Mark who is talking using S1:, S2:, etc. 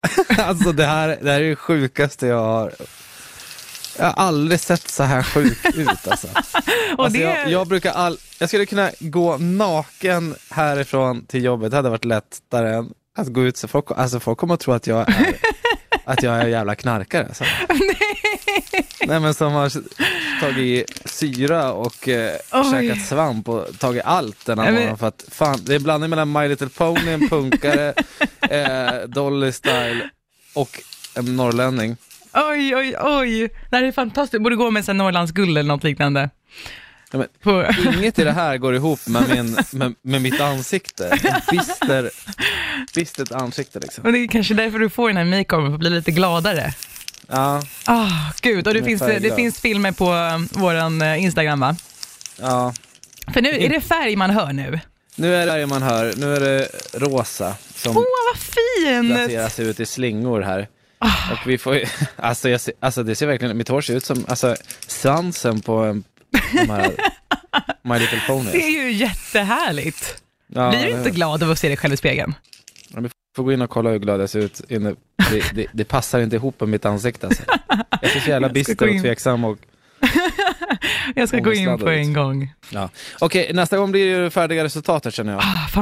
S1: Alltså det här, det här är det sjukaste jag har... Jag har aldrig sett så här sjuk ut alltså.
S2: Och
S1: alltså
S2: det,
S1: jag, jag brukar all... Jag skulle kunna gå naken härifrån till jobbet, det hade varit lättare än att gå ut. Så folk, alltså folk kommer att tro att jag är, att jag är en jävla knarkare. Alltså. Nej men som har tagit syra och eh,
S2: Oj.
S1: käkat svamp och tagit allt den här
S2: Nej, men-
S1: morgonen för att fan, det är blandning mellan My Little Pony, en punkare, eh, Dolly Style och en norrlänning.
S2: Oj, oj, oj. Det här är fantastiskt. Borde gå med en Norrlandsguld eller något liknande.
S1: Ja, men-
S2: På...
S1: Inget i det här går ihop med, min, med, med mitt ansikte. Ett Bister, bistert ansikte liksom.
S2: Men det är kanske därför du får den här makeovern, för att bli lite gladare.
S1: Ja,
S2: Ah, gud. Och det
S1: Men
S2: finns, det
S1: färgglad.
S2: finns filmer på eh, våran eh, Instagram, va?
S1: ja.
S2: För nu, är det färg man hör nu?
S1: Nu är det här man hör, nu är det rosa som
S2: Åh, Ah, vad fint!
S1: placeras ut i slingor här. Och vi får ju, alltså, jag ser, alltså det ser verkligen, mitt hår ser ut som, alltså svansen på en, de här My Little
S2: Det
S1: Pony.
S2: är ju jättehärligt.
S1: Ja,
S2: Blir du
S1: det-
S2: inte glad av att se dig själv i spegeln?
S1: Ja, Vi får gå in och kolla hur glad jag ser ut. inne. Det, det, det passar inte ihop med mitt ansikte alltså. Jag ser så jävla
S2: Jag ska gå
S1: bister
S2: in.
S1: och tveksam och
S2: Jag ska gå in på
S1: Ångestladdad.
S2: en gång.
S1: Ja. Okej, nästa gång blir det ju färdiga resultatet känner jag.
S2: Ah, fan.